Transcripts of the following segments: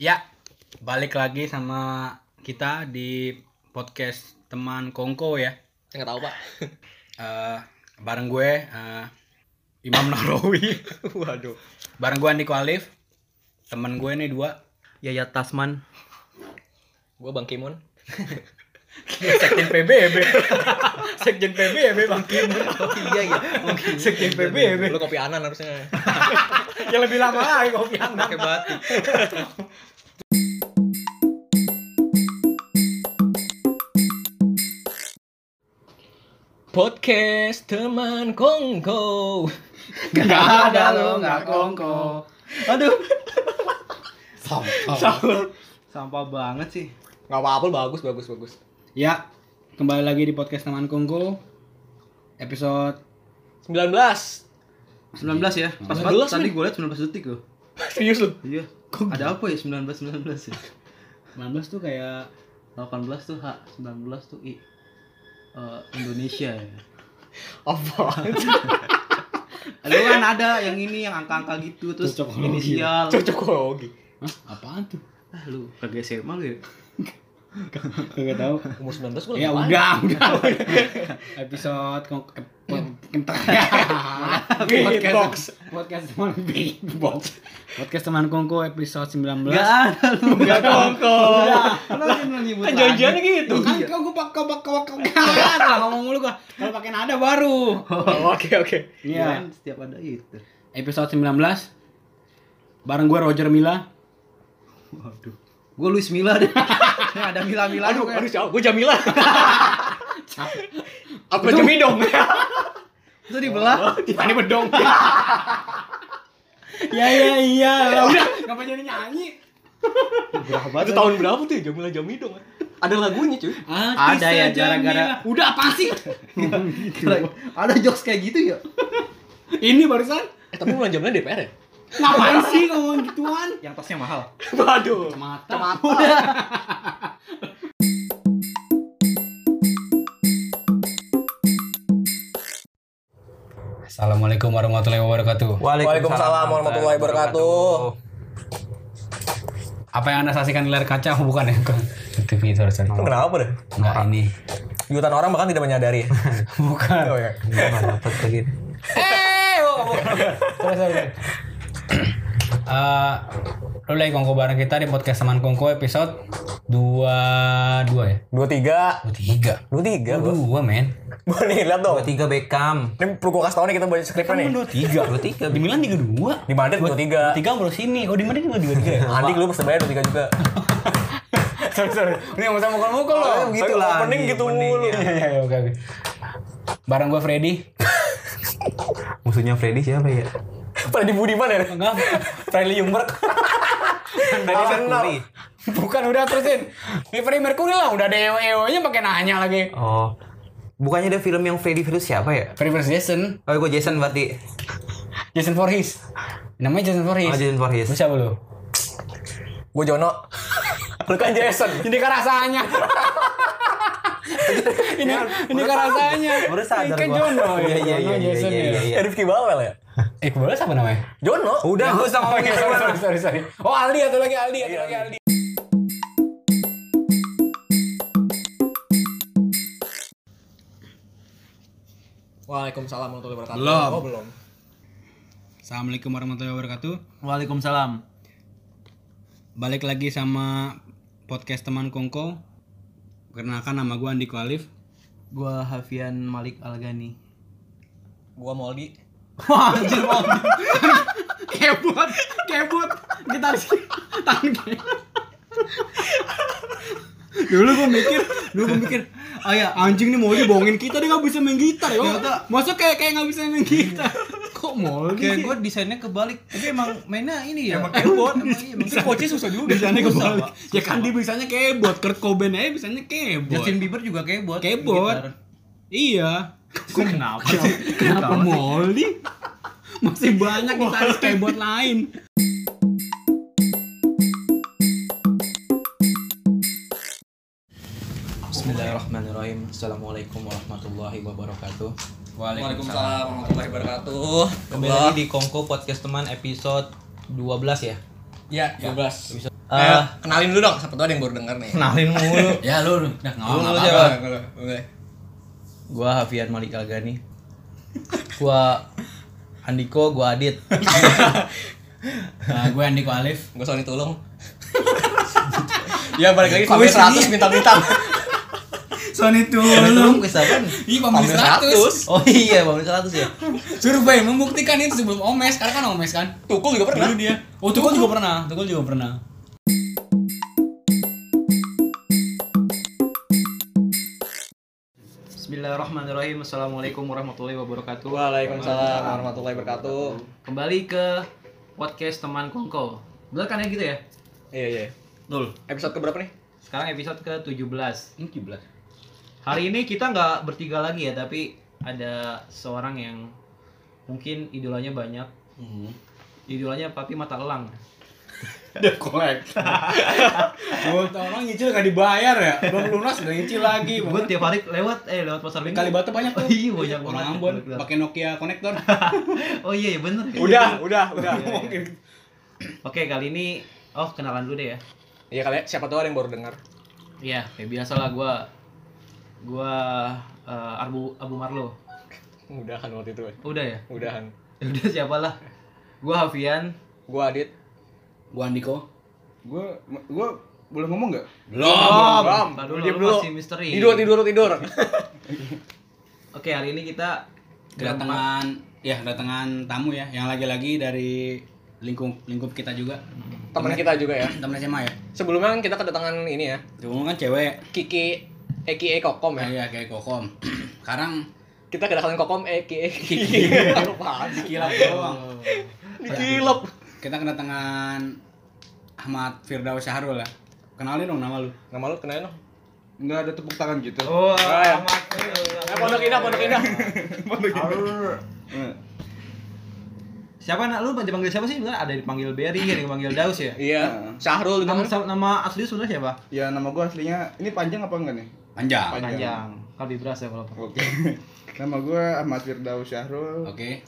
Ya, balik lagi sama kita di podcast teman Kongko ya Saya nggak tahu pak. Eh bareng gue eh, Imam Nahrawi Waduh. bareng gue Andiko Alif temen gue nih dua Yaya Tasman. Gue Bang Kimon. sekjen PBB sekjen PBB bang Oh iya ya. sekjen PBB Lu kopi anan harusnya. yang Ya, lebih lama lagi kopi anak Pakai batik. Podcast teman Kongko. Gak ada lo, gak kongko Aduh. Sampah. Sahur. Sampah banget sih. Gak apa-apa bagus bagus bagus. Ya, kembali lagi di podcast teman Kongko episode 19. 19 ya. 19 Pas banget nih. tadi gue liat 19 detik loh. Serius lu? Iya. Ada apa ya 19 19 ya? 19 tuh kayak 18 tuh H, 19 tuh I. Eh, Indonesia ya. Apa? Ada kan ada yang ini yang angka-angka gitu terus Cocokologi. inisial. Cocokologi. Hah, apaan tuh? Ah lu kagak SMA lu ya? Gak tau Umur 19 gue Ya udah, udah Episode kong- eh, po- Kentar Beatbox. Podcast teman Beatbox Podcast teman Kongko episode 19 Enggak ada lu. Gak Kongko. Lu jangan nyebut. Kan janjiannya gitu. Tuh kan kau gue pak kau kau kau salah ngomong mulu gua. Kalau pakai nada baru. Oh, Oke oke. Iya. Iya, setiap ada itu. Episode 19 bareng gue Roger Mila. Waduh. Gue Luis Mila deh. Yang ada Mila-Mila Aduh, kayak- aduh, jauh. Gue Jamila. Apa Jamidong? Itu dibelah. Tiffany Bedong. ya ya iya. Udah, ngapain jadi nyanyi? Itu tahun berapa tuh ya, Jamila Jamidong? Ada lagunya cuy. Artis Ada ya, aja, gara-gara- Mila. Udah apa sih? Kira- ada jokes kayak gitu ya? Ini barusan Eh tapi bulan jamnya DPR ya? ngapain sih ngomong gituan? Yang tasnya mahal. Waduh. Mata. Assalamualaikum warahmatullahi wabarakatuh. Waalaikumsalam warahmatullahi wabarakatuh. Apa yang anda saksikan di layar kaca bukan ya? Bukan. TV sorry sorry. Itu Kenapa deh? Enggak ini. Jutaan orang bahkan tidak menyadari. Bukan. Oh ya. Eh, oh, Sorry, sorry, sorry. Eh, lu lagi kongko bareng kita di podcast teman kongko episode dua dua ya Dua tiga. dua tiga Dua tiga. dua dua men Gue nih lihat dong. 23 Beckham. Ini perlu gue kasih tau nih kita baca skripnya nih. dua tiga dua tiga di Milan tiga dua Di Madrid dua tiga. tiga baru sini oh di Madrid dua tiga ya Andik lu persebaya dua tiga juga. sorry sorry ini mau sama mukul loh Oh, gitu lah. Opening gitu mulu. Iya, iya, iya, oke oke bareng gue Freddy Musuhnya Freddy siapa ya? Pada di Budiman ya? enggak Freddy Jungberg Ah, Freddy Mercury. bukan udah terusin ini Freddy Mercury lah udah ada E EO nya pakai nanya lagi Oh. Bukannya ada film yang Freddy versus siapa ya? Freddy versus Jason Oh, gue Jason berarti. Jason Voorhees namanya Jason Voorhees Oh, Jason Voorhees. lu siapa lu Gue Jono. Lu kan Jason. ini kan rasanya ini ini kan rasanya Baru sadar ini kan gua. Jono Iya, iya, iya, Jono, iya, Jason iya, ya. iya. Ya Rifki Bawel ya? eh kebetulan siapa namanya Jono. Udah, gue usah Oh, ngomongin iya, sorry, sorry, sorry, sorry. Iya, Oh, Aldi atau lagi Aldi, atau lagi Aldi. Waalaikumsalam warahmatullahi wabarakatuh. Belum. Oh belum. Assalamualaikum warahmatullahi wabarakatuh. Waalaikumsalam. Balik lagi sama podcast teman Kongko. Perkenalkan nama gue Andi Kualif. Gua Hafian Malik Algani. Gua Moldi. Wah, anjir mau. Kebut, kebut, gitaris tangan. dulu gue mikir, dulu gue mikir, ah ya anjing nih mau bohongin kita dia nggak bisa main gitar ya. Masuk kayak kayak nggak bisa main gitar. Kok mau? Kayak gue desainnya kebalik. Tapi emang mainnya ini ya. Emang keyboard. emang iya, emang Itu coachnya susah juga. Bisanya Susah, kebalik. Pak. Ya kan dia bisanya kebot, Kurt Cobain aja bisanya Justin kebot. Bieber juga keyboard. Kebot. Gitar. Iya. Kok kenapa? Kenapa Molly? Masih banyak gitaris kebot lain. Bismillahirrahmanirrahim. Assalamualaikum warahmatullahi wabarakatuh. Waalaikumsalam warahmatullahi wabarakatuh. Kembali lagi di Kongko Podcast Teman episode 12 ya. Ya, 12. Eh, Ayo, kenalin dulu dong, siapa tau ada yang baru denger nih. kenalin mulu. Ya lu, lu. nah nggak Lu, lu apa-apa. siapa? nggak apa-apa. Oke. gua Hafian Malik Algani. Gua Andiko, gua Adit. Nah, gue Andiko Alif. Gue Sony Tulung. ya balik lagi pamer Kuis ini. 100 bintang-bintang. Sony Tulung. Kuis apaan? Iya, Ih, pamer 100. Oh iya, pamer 100 ya. Survei membuktikan itu sebelum Omes, karena kan Omes kan. Tukul juga pernah. Dulu dia. Oh, Tukul juga pernah. Tukul juga pernah. Bismillahirrahmanirrahim. Assalamualaikum warahmatullahi wabarakatuh. Waalaikumsalam warahmatullahi wabarakatuh. Kembali ke podcast teman kongko. Bener kan ya gitu ya? Iya, iya. Nul. Episode ke berapa nih? Sekarang episode ke-17. 17. Hari ini kita nggak bertiga lagi ya, tapi ada seorang yang mungkin idolanya banyak. Hmm. Idolanya Papi Mata Elang. Debt collector. Gue orang nyicil gak dibayar ya. Belum lunas udah nyicil lagi. Gue tiap hari lewat eh lewat pasar minggu. Kalibata banyak tuh. Iya, banyak banget. Orang Ambon pakai Nokia konektor. Oh iya, iya, bener. ya. Udah, udah, udah. Iya, iya. Oke, kali ini oh kenalan dulu deh ya. Iya kali, siapa tahu ada yang baru dengar. Iya, kayak biasalah gua gua eh, Arbu Abu Marlo. Mudahan waktu itu. eh. Udah ya? Mudahan. Ya udah siapalah. Gua Hafian. Gue Adit. Gua Andiko. Gue gue boleh ngomong nggak? Belum. Belum. Ntar dulu, Diam lu dulu. masih misteri. Tidur, tidur, tidur. Oke, hari ini kita Kedatangan ya kedatangan tamu ya yang lagi-lagi dari lingkup lingkup kita juga. Teman kita juga ya. Temen SMA ya. Sebelumnya kan kita kedatangan ini ya. Dulu kan cewek Kiki Eki Kokom ya. Iya, kayak kayak kokom. Sekarang Kita kedatangan Kokom Eki Kiki. Apaan sih? kilap doang. Dikilap. Kita kedatangan Ahmad Firdaus Syahrul ya. Kenalin dong nama lu. Nama lu kenalin dong. Nggak ada tepuk tangan gitu. Oh, Wah. amat. Eh, pondok indah, pondok indah. Arr. Eh, Siapa nak lu dipanggil siapa sih? Sebenarnya ada yang dipanggil Berry, ada yang dipanggil Daus ya. Iya. Syahrul Nama nama nama asli sebenarnya siapa? Ya nama gue aslinya ini panjang apa enggak nih? Ah, Panjang. Panjang. Panjang. Kalau di beras ya kalau apa. Oke. Nama gue Ahmad Firdaus Syahrul. Oke.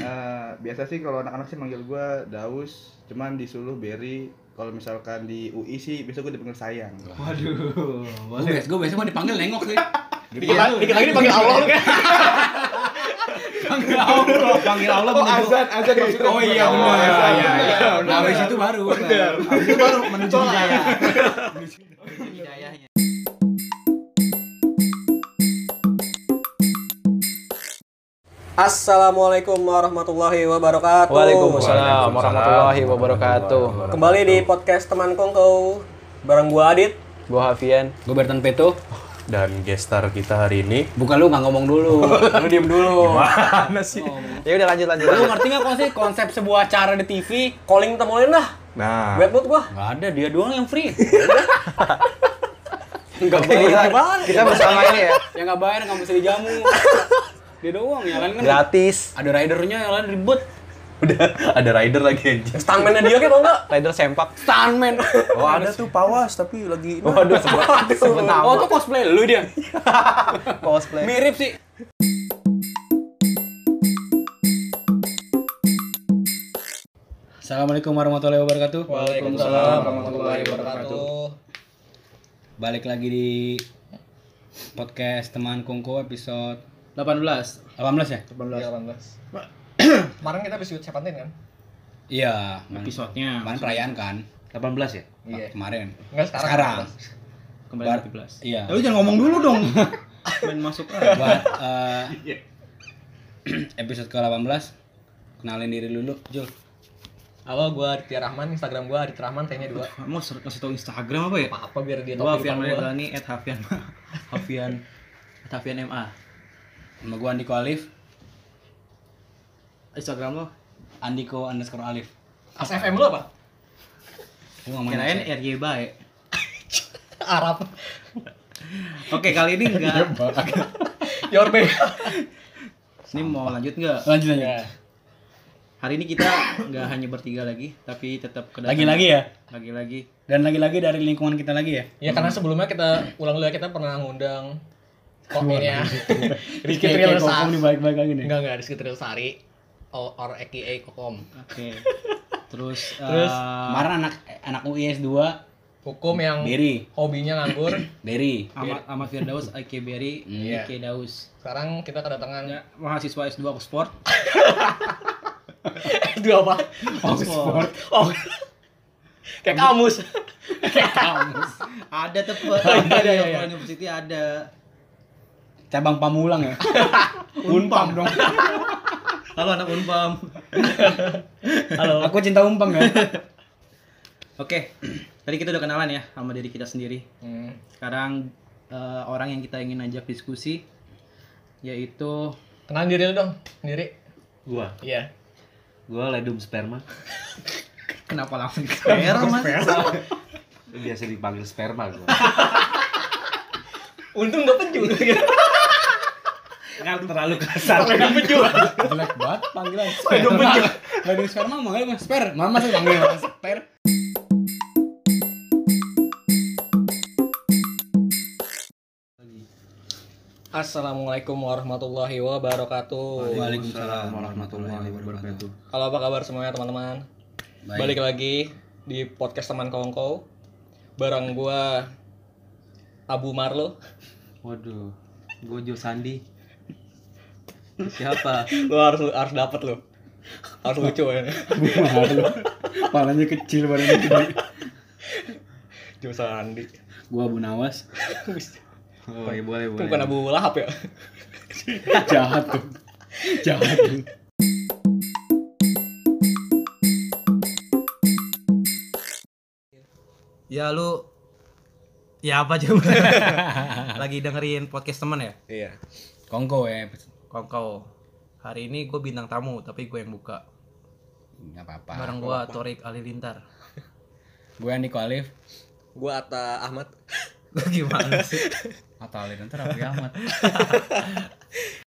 Eh, biasa sih kalau anak-anak sih manggil gue Daus, cuman disuruh Berry. Kalau misalkan di UI sih biasa gue dipanggil sayang. Waduh, Gue boleh. biasa gue biasa gua dipanggil nengok sih. Dikit dikit lagi dipanggil Allah lu kan. Panggil Allah, panggil Allah Oh menuju- azan, azan maksudnya. Oh iya Oh, benar. azan, iya, iya. benar, Nah, benar. habis itu baru. benar. Habis itu baru menuju hidayah. Hidayahnya. Assalamualaikum warahmatullahi wabarakatuh. Waalaikumsalam warahmatullahi wabarakatuh. Kembali di podcast teman kongko bareng gua Adit. Gua Hafian. Gue Bertan Peto. dan gestar kita hari ini Bukan lu nggak ngomong dulu. Lu diem dulu. mana sih Ya udah lanjut lanjut. lu ngerti nggak kok sih konsep sebuah acara di TV? Calling temuin lah. nah Bad mood gua. Gak ada, dia doang yang free. Enggak bayar. Kita bersama ini ya. yang nggak bayar nggak mesti dijamu. Dia doang ya kan kan. Gratis. Ada ridernya yang lain ribut. udah ada rider lagi aja Stuntman-nya dia kayak mau enggak? Rider sempak. Stuntman. oh ada tuh pawas tapi lagi Waduh, sebut sebut Oh nama. tuh cosplay lu dia. Cosplay. Mirip sih. Assalamualaikum warahmatullahi wabarakatuh. Waalaikumsalam warahmatullahi wabarakatuh. Balik lagi di podcast teman kongko episode 18. 18 ya? 18. Kemarin kita habis ikut Sepantin kan? Iya, episode Episodenya. kemarin perayaan kan? Iya. 18 ya? Kemarin. Enggak Sekarang. Kembali Bar- 18. Iya. Ya lu jangan ngomong dulu dong. Main masuk aja. Buat eh, episode ke-18 kenalin diri dulu, Jul. Halo, gue Aditya Rahman, Instagram gue Aditya Rahman, kayaknya dua. Mau ser- kasih tau Instagram apa ya? Apa biar dia Gua tahu Hafian kehidupan gua. Maulani at Hafian Hafian at Hafian MA. Nama gua Andiko Alif, Instagram lo Andiko underscore Alif. ASFM lu apa? Gua nggak mau kirain nyebut. RY baik. Arab. Oke, kali ini enggak. Your babe. ini mau iya. lanjut enggak? Lanjut lanjut. Iya, Hari ini kita enggak hanya bertiga lagi, tapi tetap kedatangan- Lagi-lagi ya. Lagi-lagi. Dan lagi-lagi dari lingkungan kita lagi ya. Ya karena sebelumnya kita ulang dulu ya kita pernah ngundang kok ini ya. Rizky Trial Kokom Sari. nih baik-baik lagi nih. Oh, Enggak enggak Rizky Trial Sari or or AKA Kokom. Oke. Terus Terus eh, Ah. kemarin anak anak UIS 2 Hukum yang Berry, hobinya nganggur. Berry. Ahmad Ahmad Firdaus IK Berry, Iya. IK Daus. Sekarang kita kedatangan Ya, mahasiswa S2 Oxford. dua apa? Oxford. Oh. Kayak kamus. Kamus. ada tepet. Ada, ada, Iya, iya. Oxford University ada. Cabang Pamulang ya. Unpam dong. Halo anak Unpam. Halo. Aku cinta Unpam ya. Oke. Tadi kita udah kenalan ya sama diri kita sendiri. Hmm. Sekarang eh, orang yang kita ingin ajak diskusi yaitu Kenalin diri lu dong, sendiri. gua. Iya. Gua Ledum Sperma. Kenapa langsung sperma? Biasa dipanggil sperma gua. Untung gak penju. Enggak terlalu kasar. Jelek banget panggilan. Aduh bener. Gak ada sperma manggil mas sper. Mama sih panggil mas sper. Assalamualaikum warahmatullahi wabarakatuh. Waalaikumsalam warahmatullahi wabarakatuh. Halo apa kabar semuanya teman-teman? Balik lagi di podcast teman kongko. Bareng gua Abu Marlo. Waduh. Gojo Sandi. Siapa? Lu harus harus dapat lu. Harus lucu ya. Palanya kecil badannya gede. Jurusan Andi. Gua Abu Nawas. Boleh, boleh, Itu bukan Abu Lahap ya. Jahat tuh. Jahat tuh. Ya lu Ya apa coba? Lagi dengerin podcast temen ya? Iya. Kongko ya. Kongkow. Hari ini gue bintang tamu, tapi gue yang buka. Gak apa-apa. Bareng gue Torik Alilintar. Gue Niko Alif. Gua Ata Ahmad. Gimana sih? Atau Alif nanti Raffi Ahmad.